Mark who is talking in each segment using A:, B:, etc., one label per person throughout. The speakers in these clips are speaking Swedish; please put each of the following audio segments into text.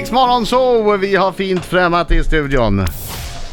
A: Riksmorgon så vi har fint främmat i studion.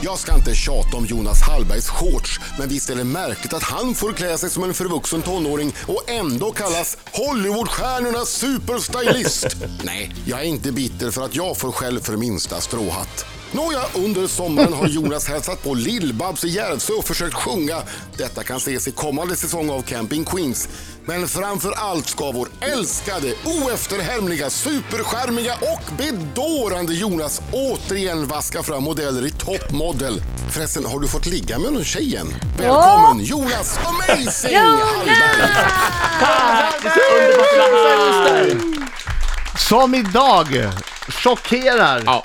B: Jag ska inte tjata om Jonas Hallbergs shorts, men visst är det märkligt att han får klä sig som en förvuxen tonåring och ändå kallas Hollywoodstjärnornas superstylist. Nej, jag är inte bitter för att jag får skäll för minsta stråhatt. Nåja, under sommaren har Jonas hälsat på Lill-Babs i Järvsö och försökt sjunga. Detta kan ses i kommande säsong av Camping Queens. Men framför allt ska vår älskade, oefterhärmliga, superskärmiga och bedårande Jonas återigen vaska fram modeller i Top Model. Förresten, har du fått ligga med någon tjej än? Välkommen Jonas Amazing Hallberg!
A: Som idag chockerar
C: Ja.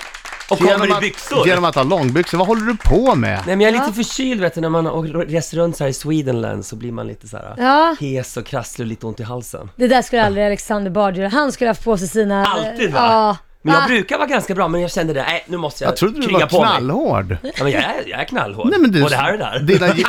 C: Och kommer i
A: att,
C: byxor.
A: genom att ha långbyxor. Vad håller du på med?
D: Nej men jag är lite förkyld vet du, när man har rest runt så här i Swedenland så blir man lite så här
E: Ja.
D: hes och krasslig och lite ont i halsen.
E: Det där skulle aldrig Alexander Bard göra. Han skulle ha haft på sig sina...
D: Alltid va?
E: Ja.
D: Men jag
E: Ah.
D: brukar vara ganska bra, men jag kände det, nej nu måste jag,
A: Jag trodde du
D: kriga
A: var
D: på mig.
A: knallhård.
D: Ja, men jag är, jag är knallhård.
A: Nej, men du,
D: Både här och där.
A: Dina, je-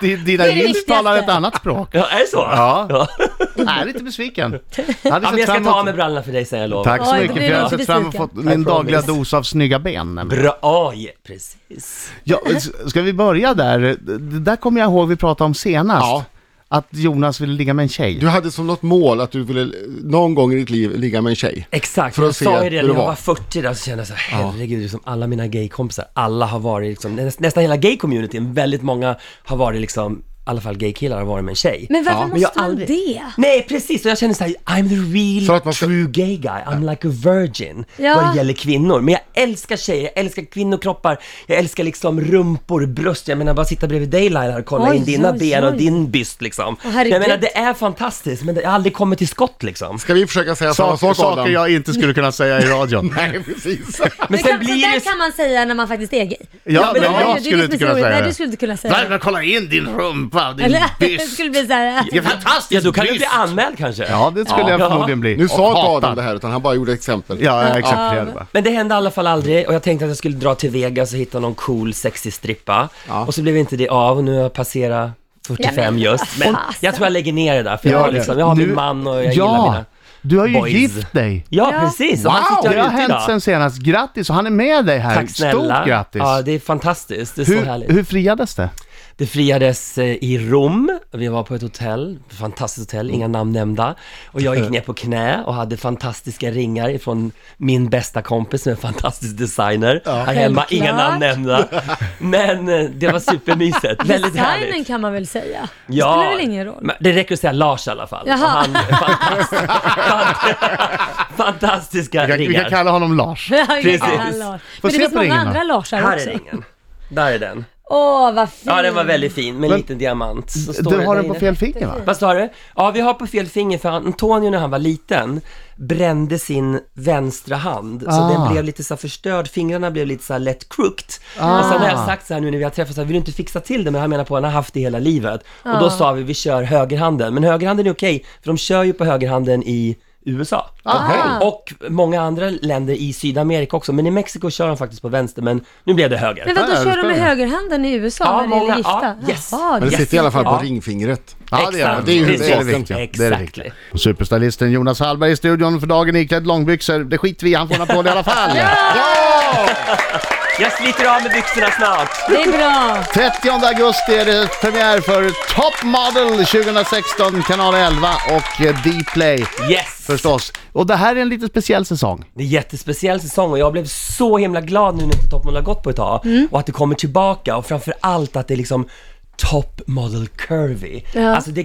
A: Di- dina
E: Det är det
A: jeans
E: viktigaste.
A: talar ett annat språk.
D: Ja, är det så?
A: Ja.
D: ja.
A: Jag är lite besviken. Jag hade
D: Ja, men
A: sett
D: jag
A: fram
D: ska ta av
A: emot-
D: mig brallorna för dig sen, jag lovar.
A: Tack så
E: Oj, då
A: mycket,
E: blir
A: för jag
E: du
A: har sett
E: lite
A: fram
E: besviken.
A: emot min
D: I
A: dagliga
D: promise.
A: dos av snygga ben. nämligen.
D: Bra, oj, precis.
A: Ja, s- ska vi börja där? Det där kommer jag ihåg vi pratade om senast.
F: Ja.
A: Att Jonas ville ligga med en tjej.
F: Du hade som något mål att du ville eh, någon gång i ditt liv ligga med en tjej.
D: Exakt,
F: För
D: jag
F: att se
D: sa ju det när
F: hur
D: jag
F: det var.
D: var 40 där så kände jag så här, herregud, liksom alla mina gaykompisar, alla har varit liksom, nä- nästan hela gay-communityn, väldigt många har varit liksom, i alla fall gaykillar har varit med en tjej.
E: Men varför
D: Ja. Men jag
E: måste han
D: aldrig-
E: det?
D: Nej precis, och jag känner såhär, I'm the
F: För
D: real
F: att man ska-
D: true gay guy, I'm like a virgin
E: Ja.
D: vad det gäller kvinnor. Men jag älskar tjejer, jag älskar kvinnokroppar, jag älskar liksom rumpor, bröst. Jag menar bara sitta bredvid dig Laila och kolla
E: Oj,
D: in dina
E: oj,
D: ben och
E: oj.
D: din byst liksom.
E: Åh, herregud.
D: jag menar det är fantastiskt, men det- jag har aldrig kommit till skott liksom.
F: Ska vi försöka säga samma
A: Sak,
F: sak
A: saker
F: Adam?
A: jag inte skulle kunna säga i radion.
F: Nej, precis.
D: Men
E: Men
D: sen
E: kan, så
D: blir
E: där
D: det...
E: kan man säga när man faktiskt är gay.
A: Ja, men
D: men det är ju-
E: det
A: jag
E: är
A: skulle
E: lite
A: inte kunna
E: personligt.
A: säga
E: Nej, du
A: det.
E: skulle inte kunna säga det.
A: Värmen, kolla in din rumpa och din
E: Eller? Det
A: byst.
E: skulle bli såhär...
A: Det är
D: Ja,
A: fantastiskt
D: då kan du bli
A: byst.
D: anmäld kanske.
A: Ja, det skulle jag
D: Ja.
A: förmodligen bli.
F: Nu
A: Och
F: sa inte Adam
A: hatad.
F: det här utan han bara gjorde exempel.
A: Ja, jag exemplifierade bara.
D: Men det hände i alla fall aldrig och jag tänkte att jag skulle dra till Vegas och hitta någon cool sexig strippa. Och så blev inte det av och nu har jag passerat 45
E: Ja, men-
D: just. Men
E: Fasen.
D: jag tror jag lägger ner det där för jag,
A: Gör
D: har,
A: det.
D: liksom, jag har
A: Nu-
D: min man och jag gillar
A: Ja,
D: mina...
A: du har ju
D: boys.
A: gift dig.
D: Ja,
E: Ja.
D: precis! Och
A: Wow!
D: han sitter här
A: Det har
D: ute
A: hänt
D: idag.
A: sen senast. Grattis! Och han är med dig här.
D: Tack snälla!
A: Stort grattis!
D: Ja, det är fantastiskt. Det är så
A: hur,
D: härligt.
A: hur friades det?
D: Det friades eh, i Rom, vi var på ett hotell, ett fantastiskt hotell, inga namn nämnda. Och jag gick ner på knä och hade fantastiska ringar ifrån min bästa kompis som är en fantastisk designer. Här hemma, inga
E: Självklart.
D: namn nämnda. Men eh, det var supermysigt, väldigt
E: Designen
D: härligt.
E: kan man väl säga? Det spelar väl ingen roll?
D: men det räcker att säga Lars i alla fall.
E: Jaha.
D: Och Han, fantast, fant, fantastiska
A: Vi kan, vi kan
D: ringar.
A: kalla honom Lars.
E: Ja,
D: Precis.
E: Lars. Men
A: Får
E: det
A: se
E: finns
A: på
E: många
A: ringen då.
E: andra Larsar
D: Här är
E: också.
D: ringen. Där är den.
E: Åh, vad fint.
D: Ja, den var väldigt fin med en
A: Men-
D: liten diamant. Så står
A: Du
D: det
A: har
D: där
A: den på
D: inne.
A: fel finger va?
D: Vad sa du? Ja, vi har på fel finger för Antonio när han var liten brände sin vänstra hand. Så
A: Ah.
D: den blev lite så här förstörd, fingrarna blev lite så här lätt crooked. Och sen har
F: Ah.
D: jag sagt så här nu när vi har träffats, så här, vill du inte fixa till det? Men han menar på att han har haft det hela livet. Och
E: Ah.
D: då sa vi, vi kör högerhanden. Men högerhanden är okej, för de kör ju på högerhanden i USA.
F: Ah.
D: Och många andra länder i Sydamerika också. Men i Mexiko kör de faktiskt på vänster, men nu blev det höger.
E: Men
A: Ja,
E: vadå,
A: det
E: kör de med
A: stämmer.
E: högerhanden i USA
D: Ja,
E: när det gäller
D: många-
E: gifta?
D: ja, yes.
E: Jaha,
F: Men det
E: det-
F: sitter i alla fall på
D: Ja.
F: ringfingret.
A: Ja, det gör
D: Exakt.
A: det. Det är ju det, är det
D: Precis.
A: viktiga. Det är det viktiga.
D: Exactly.
A: Superstylisten Jonas Hallberg i studion för dagen iklädd långbyxor. Det skiter vi i, han får en applåd i alla fall.
D: Jag sliter av med byxorna snart.
E: det är bra.
A: 30 augusti är det premiär för Top Model 2016, kanal 11 och eh, Dplay
D: Yes!
A: förstås. Och det här är en lite speciell säsong.
D: Det är en jättespeciell säsong och jag blev så himla glad nu när inte Top Model har gått på ett tag
E: Mm.
D: och att det kommer tillbaka och framför allt att det är liksom Top Model Curvy.
E: Ja.
D: Alltså det är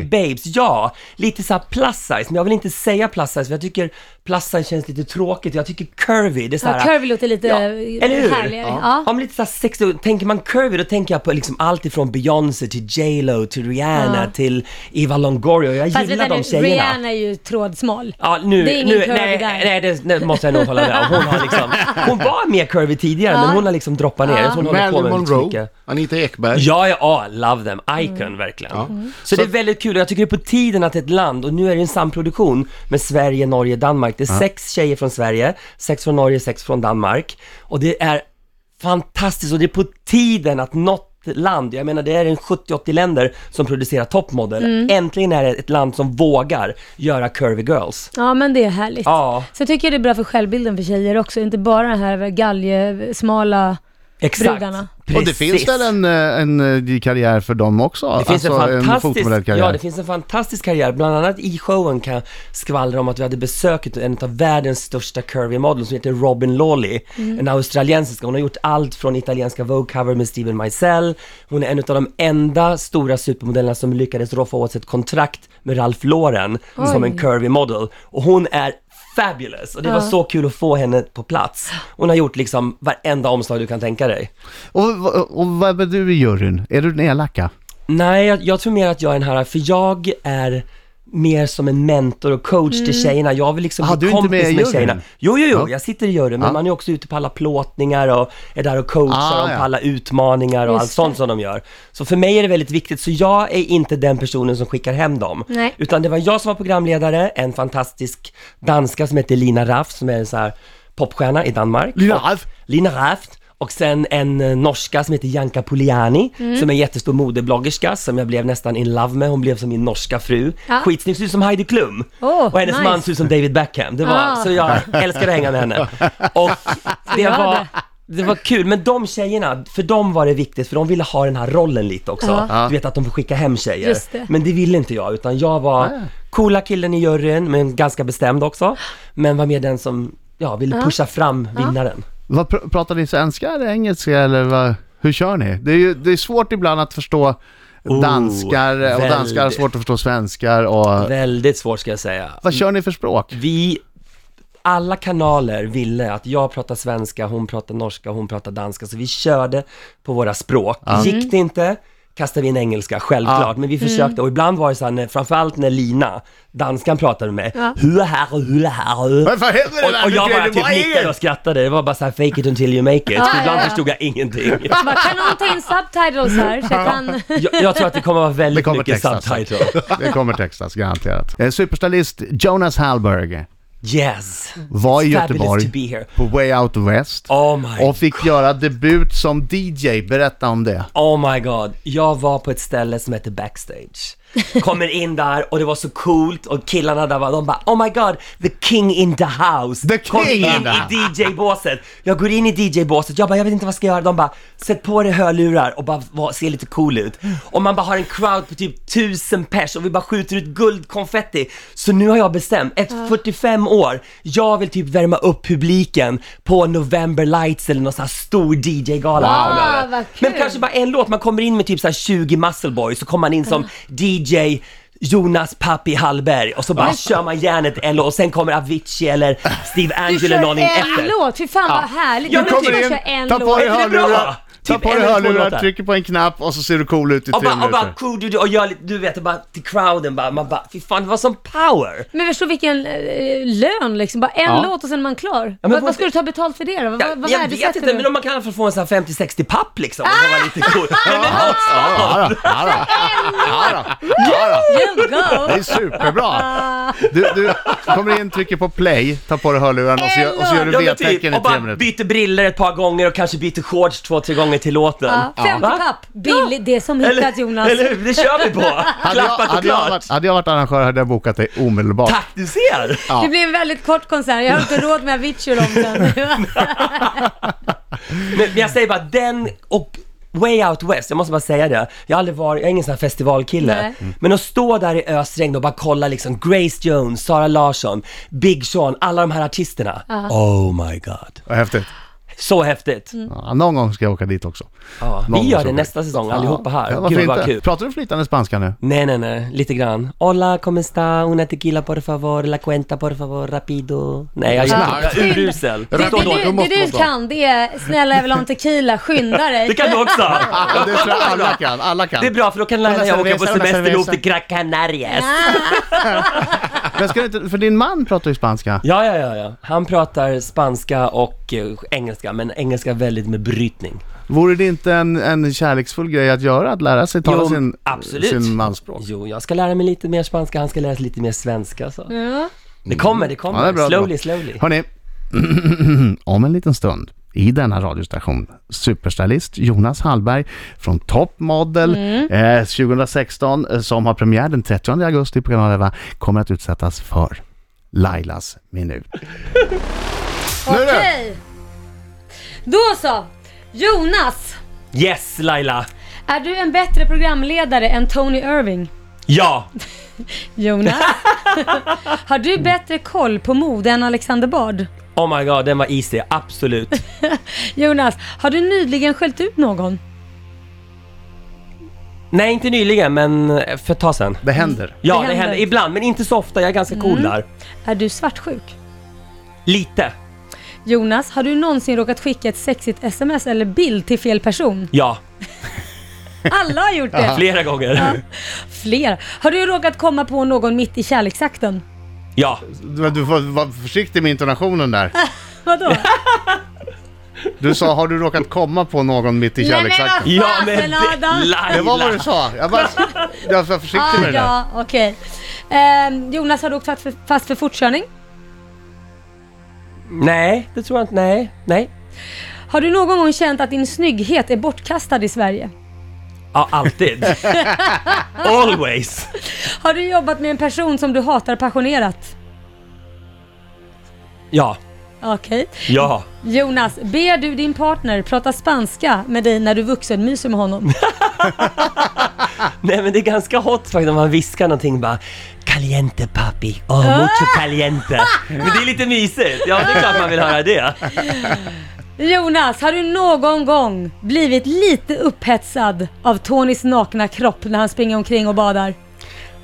A: Curvy.
D: babes, ja! Lite såhär plus size, men jag vill inte säga plus size för jag tycker plus size känns lite tråkigt. Jag tycker curvy, det är såhär...
E: Ja, curvy låter lite
D: Ja, eller hur?
E: härligare. Ja.
D: Ja, men lite såhär sexy. Tänker man curvy då tänker jag på liksom allt ifrån Beyoncé till J Lo till Rihanna
E: Ja.
D: till Eva Longoria. Jag
E: Fast
D: gillar
E: vänta
D: de
E: nu,
D: tjejerna.
E: Rihanna är ju trådsmal.
D: Ja, nu,
E: Det är ingen
D: nu,
E: curvy
D: nej,
E: där.
D: nej, det, det måste jag nog hålla med om. Hon, har liksom, hon var mer curvy tidigare, men hon har liksom droppat ner. Jag tror hon håller på
F: Marilyn
D: med lite för
F: Monroe,
D: mycket.
F: Anita Ekberg.
D: Ja, ja, ja, love them. Icon,
E: Mm.
D: verkligen. Så, det är väldigt kul och jag tycker det är på tiden att ett land, och nu är det en samproduktion med Sverige, Norge, Danmark. Det är sex tjejer från Sverige, sex från Norge, sex från Danmark. Och det är fantastiskt och det är på tiden att något land, jag menar det är en 70-80 länder som producerar toppmodell.
E: Mm.
D: Äntligen är det ett land som vågar göra curvy girls.
E: Ja, men det är härligt.
D: Ja.
E: Så jag tycker det är bra för självbilden för tjejer också, inte bara den här galjesmala...
D: Exakt.
E: Brudarna.
A: Och det finns
D: Precis.
A: väl en, eh, en eh, karriär för dem också?
D: Det finns,
A: Alltså,
D: en fantastisk,
A: fotmodellkarriär.
D: ja, det finns en fantastisk karriär. Bland annat i showen kan jag skvallra om att vi hade besökt en av världens största curvy models som heter Robin Lawley. En australiensiska. Hon har gjort allt från italienska Vogue cover med Steven Meisel. Hon är en av de enda stora supermodellerna som lyckades roffa åt sig ett kontrakt med Ralph Lauren som en curvy model. Och hon är fabulous! Och det var så kul att få henne på plats. Hon har gjort liksom varenda omslag du kan tänka dig.
A: Och, och, och vad är du i juryn? Är du den elaka?
D: Nej, jag, jag tror mer att jag är den här, för jag är mer som en mentor och coach till tjejerna. Jag vill liksom
A: Ah, du
D: bli
A: är inte
D: kompis
A: med i
D: med,
A: juryn?
D: tjejerna. Jo, jo, jo,
A: Ja.
D: jag sitter i juryn, men
A: Ja.
D: man är också ute på alla plåtningar och är där och coachar
A: Ah,
D: dem
A: ja.
D: på alla utmaningar och
E: Just
D: allt sånt som de gör. Så för mig är det väldigt viktigt, så jag är inte den personen som skickar hem dem.
E: Nej.
D: Utan det var jag som var programledare, en fantastisk danska som heter Lina Raff, som är en så här popstjärna i Danmark.
A: Lina
D: Och-
A: Raff?
D: Lina Raft och sen en eh, norska som heter Janka Poliani
E: Mm.
D: som är en jättestor modebloggerska som jag blev nästan in love med. Hon blev som min norska fru.
E: Ja.
D: Skitsnygg, ser ut som Heidi Klum.
E: Åh,
D: och hennes
E: nice.
D: man ser ut som David Beckham. Det var,
E: Ah.
D: Så jag älskade att hänga med henne. Och det
E: Gör
D: var,
E: det.
D: det var kul, men de tjejerna, för dem var det viktigt för de ville ha den här rollen lite också. Du vet att de får skicka hem tjejer.
E: Just det.
D: Men det ville inte jag, utan jag var coola killen i juryn, men ganska bestämd också. Men var mer den som, ja, ville pusha fram vinnaren.
A: Vad, pr- pratar ni svenska eller engelska eller vad, hur kör ni? Det är ju det är svårt ibland att förstå danskar och
D: Oh, väldigt.
A: danskar har svårt att förstå svenskar och...
D: Väldigt svårt ska jag säga.
A: Vad kör ni för språk?
D: Vi, alla kanaler ville att jag pratar svenska, hon pratar norska, hon pratar danska, så vi körde på våra språk. Gick det inte kastade vi in engelska, självklart, men vi försökte och ibland var det så här, när, framförallt när Lina, danskan pratade med mig, hur här och hur här och
A: Vad fan heter det där?
D: och, och jag
A: Vad
D: bara
A: är det?
D: typ
A: Vad är det?
D: nickade och skrattade, det var bara så här fake it until you make it,
E: Ja,
D: för
E: ja,
D: ibland
E: ja.
D: förstod jag ingenting.
E: Man kan någon ta in subtitles här så jag kan...
D: Jag, jag tror att det kommer vara
A: Det
D: väldigt
A: kommer
D: mycket
A: textas.
D: subtitle.
A: Det kommer textas, garanterat. Eh, Superstylist Jonas Hallberg
D: Yes!
A: var i
D: It's fabulous
A: Göteborg
D: to be here.
A: på Way Out West
D: Oh my
A: och fick göra debut som DJ. Berätta om det.
D: Oh my god, jag var på ett ställe som heter Backstage. Kommer in där och det var så coolt och killarna där var, de bara Oh my god, the king in the house.
A: The
D: Kom
A: king
D: in
A: in the
D: i DJ-båset. Jag går in i DJ-båset, jag bara jag vet inte vad jag ska göra. De bara sätt på dig hörlurar och bara var, se lite cool ut. Och man bara har en crowd på typ tusen pers och vi bara skjuter ut guldkonfetti. Så nu har jag bestämt, efter 45 år, jag vill typ värma upp publiken på November Lights eller någon sån här stor DJ-gala.
E: Wow,
D: framöver.
E: vad
D: Men
E: kul.
D: kanske bara en låt, man kommer in med typ så här 20 muscle boys, så kommer man in som DJ Jonas Papi Hallberg och så bara kör man järnet en låt och sen kommer Avicii eller Steve
E: Du
D: Angelo
E: kör
D: eller någon in
E: en
D: efter.
E: låt, fy fan
D: Ja.
E: vad härligt.
D: Jag
E: Jag
D: kommer
E: kommer
A: in,
E: typ köra en
A: ta på
E: låt.
A: dig
D: Är inte det
A: hörlurar,
D: bra?
A: ta
D: Typ
A: på
D: en
A: dig
D: eller två
A: hörlurar,
D: låtar.
A: trycker på en knapp och så ser du cool ut i
D: Och
A: tre
D: bara, och bara
A: minuter.
D: cool, du, och gör lite, du vet, och bara till crowden bara, man bara, fy fan det var som power!
E: Men förstå vilken eh, lön liksom, bara en låt och sen är man klar.
D: men
E: vad,
D: på-
E: vad ska du ta betalt för det då? Vad,
D: Jag,
E: vad
D: jag vet
E: värdesätter
D: inte,
E: du?
D: men om man kan få en sån här 50-60 papp liksom, det var lite cool. Men, men också,
A: Ja, då, ja, då. Ja, då. Ja, då.
E: You
A: Det är
E: go!
A: superbra!
D: Ah.
A: Du, du kommer in, trycker på play, tar på dig hörlurarna och så, gör- och så gör du
D: Ja, men
A: V-tecken
D: typ,
A: i
D: och
A: tre
D: bara
A: minuter.
D: byter briller ett par gånger och kanske byter shorts två, tre gånger till låten.
E: Ja, 50
D: Va?
E: papp, billigt, det som hittat Jonas.
D: Eller hur? Det kör vi på!
A: Hade jag,
D: Klappat och
A: hade, jag
D: klart!
A: varit, hade jag varit arrangör hade jag bokat dig omedelbart.
D: Tack, du ser!
E: Det blir en väldigt kort konsert, jag har inte råd med Avicii och dem sen.
D: Men, men jag säger bara den och Way Out West, jag måste bara säga det. Jag har aldrig varit, jag är ingen sån här festivalkille.
E: Nej. Mm.
D: Men att stå där i ösregn och bara kolla liksom Grace Jones, Sara Larsson, Big Sean, alla de här artisterna. Oh my god.
A: Vad häftigt.
D: Så häftigt.
E: Mm.
A: Ja, någon gång ska jag åka dit också.
D: Ja,
A: Någon
D: vi gör
A: som-
D: det nästa säsong allihopa här.
A: Ja, varför
D: Gud vad
A: inte?
D: kul.
A: Pratar du flytande spanska nu?
D: Nej, nej, nej, lite grann. Hola, como está? Una tequila por favor, la cuenta por favor, rapido. Nej, jag är jag är urusel.
E: Det, det,
D: Förstår du?
E: det,
F: då
E: det,
F: måste
E: det du
F: man ta.
E: kan det är, snälla jag vill ha en tequila, skynda dig.
D: Det kan du också!
A: Ja, det tror jag alla kan. Alla kan.
D: Det är bra för då kan
A: Hola,
D: Laila och jag åka på
A: cerveza, hola,
D: semester ihop
A: cerveza.
D: till Gran Canarias.
A: Men ska du inte, för din man pratar ju spanska.
D: Ja, ja, ja, ja. Han pratar spanska och eh, engelska, men engelska väldigt med brytning.
A: Vore det inte en, en kärleksfull grej att göra, att lära sig tala
D: Jo,
A: sin,
D: absolut.
A: sin mansspråk?
D: Jo, jag ska lära mig lite mer spanska, han ska lära sig lite mer svenska. Så.
E: Ja.
D: Det kommer, det
A: Ja, det
D: kommer.
A: är bra, det är
D: slowly,
A: bra.
D: slowly.
A: Hörni, om en liten stund i denna radiostation. Superstylist Jonas Hallberg från Top Model eh, 2016 eh, som har premiär den 30 augusti på Kanal 11 kommer att utsättas för Lailas minut.
E: Okej. Då så. Jonas,
D: Yes Laila!
E: är du en bättre programledare än Tony Irving?
D: Ja!
E: Jonas, har du bättre koll på mode än Alexander Bard?
D: Oh my god, den var easy. Absolut.
E: Jonas, har du nyligen skällt ut någon?
D: Nej, inte nyligen, men eh, för ett tag sedan.
A: Det händer.
D: Ja, det
E: Det
D: händer.
E: händer.
D: ibland, men inte så ofta. Jag är ganska cool där.
E: Är du svartsjuk?
D: Lite.
E: Jonas, har du någonsin råkat skicka ett sexigt sms eller bild till fel person?
D: Ja,
E: Alla har gjort det!
D: flera gånger.
E: Fler. Har du råkat komma på någon mitt i kärleksakten?
D: Ja.
A: Du, du får vara försiktig med intonationen där.
E: Vadå?
A: Du sa, har du råkat komma på någon mitt i kärleksakten?
E: Nej, men
D: Ja,
E: vad fasen
D: men det,
E: Adam!
D: Laila!
A: Det var vad du sa. Jag, bara, jag var försiktig
E: Ah,
A: med det där.
E: ja, okej. Ehm, Jonas, har du åkt fast för, fast för fortkörning?
D: Nej, det tror jag inte. Nej, nej.
E: Har du någon gång känt att din snygghet är bortkastad i Sverige?
D: Ja, alltid. Always.
E: Har du jobbat med en person som du hatar passionerat?
D: Ja,
E: Okej.
D: ja.
E: Jonas, ber du din partner prata spanska med dig när du vuxenmyser med honom?
D: Nej men det är ganska hot faktiskt om man viskar någonting bara Caliente papi, oh mucho caliente. Men det är lite mysigt, ja det är klart man vill höra det.
E: Jonas, har du någon gång blivit lite upphetsad av Tonys nakna kropp när han springer omkring och badar?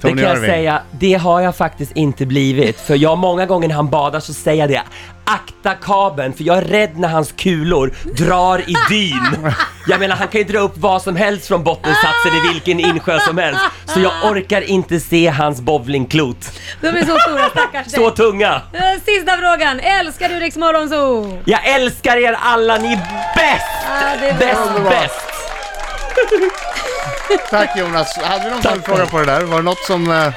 D: Det
A: Tony
D: kan jag
A: Irving.
D: säga, det har jag faktiskt inte blivit. För jag många gånger när han badar så säger jag det, akta kabeln för jag är rädd när hans kulor drar i dyn. Jag menar han kan ju dra upp vad som helst från bottensatsen i vilken insjö som helst. Så jag orkar inte se hans bowlingklot.
E: De är så stora stackars dig.
D: Så tunga!
E: Eh, Sista frågan, älskar du Rix Morgonzoo?
D: Jag älskar er alla, ni är bäst!
E: Ja, Ah, det är bra.
D: Bäst, bäst!
A: Tack Jonas. Hade du någon följdfråga på det där? Var det något som... Eh,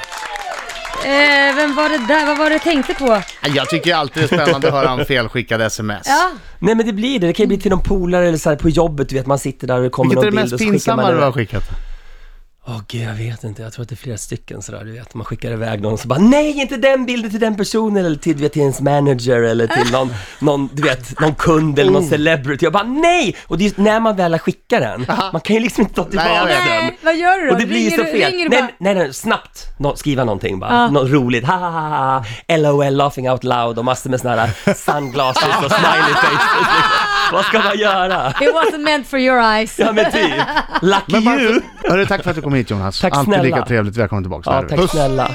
E: Eh, vem var det där? Vad var det jag tänkte på?
A: jag tycker alltid det är spännande att höra en felskickad sms.
E: Ja,
D: Nej men det blir det, det kan ju bli till någon polare eller så här på jobbet, du vet man sitter där och det kommer
A: Vilket är det
D: någon
A: mest
D: bild och så skickar
A: pinsamma
D: man
A: du har
D: iväg.
A: skickat?
D: Åh gud jag vet inte, jag tror att det är flera stycken sådär du vet, man skickar iväg någon så bara nej inte den bilden till den personen eller till, du vet, till ens manager eller till någon, någon, du vet, någon kund eller
A: Mm.
D: någon celebrity. Jag bara nej! Och det är just när man väl har skickat den, man kan ju liksom inte ta tillbaka
A: jag vet.
D: den.
E: nej, Eh, vad gör du då?
D: Och det blir ju
E: ringer,
D: så
E: du-
D: fel.
E: Ringer
D: Nej,
E: du bara?
D: nej, nej, snabbt nå- skriva någonting bara. Något roligt, ha ha ha ha, LOL, laughing out loud och massor med sådana här sunglasses och smiley faces. Vad ska man göra?
E: It wasn't meant for your eyes.
D: Ja men typ, lucky
A: Men
D: you!
A: varför, hörru, tack för att du kom hit Jonas.
D: Tack
A: Alltid
D: snälla.
A: lika trevligt. Välkommen tillbaka.
D: Ja,
A: Där.
D: tack snälla.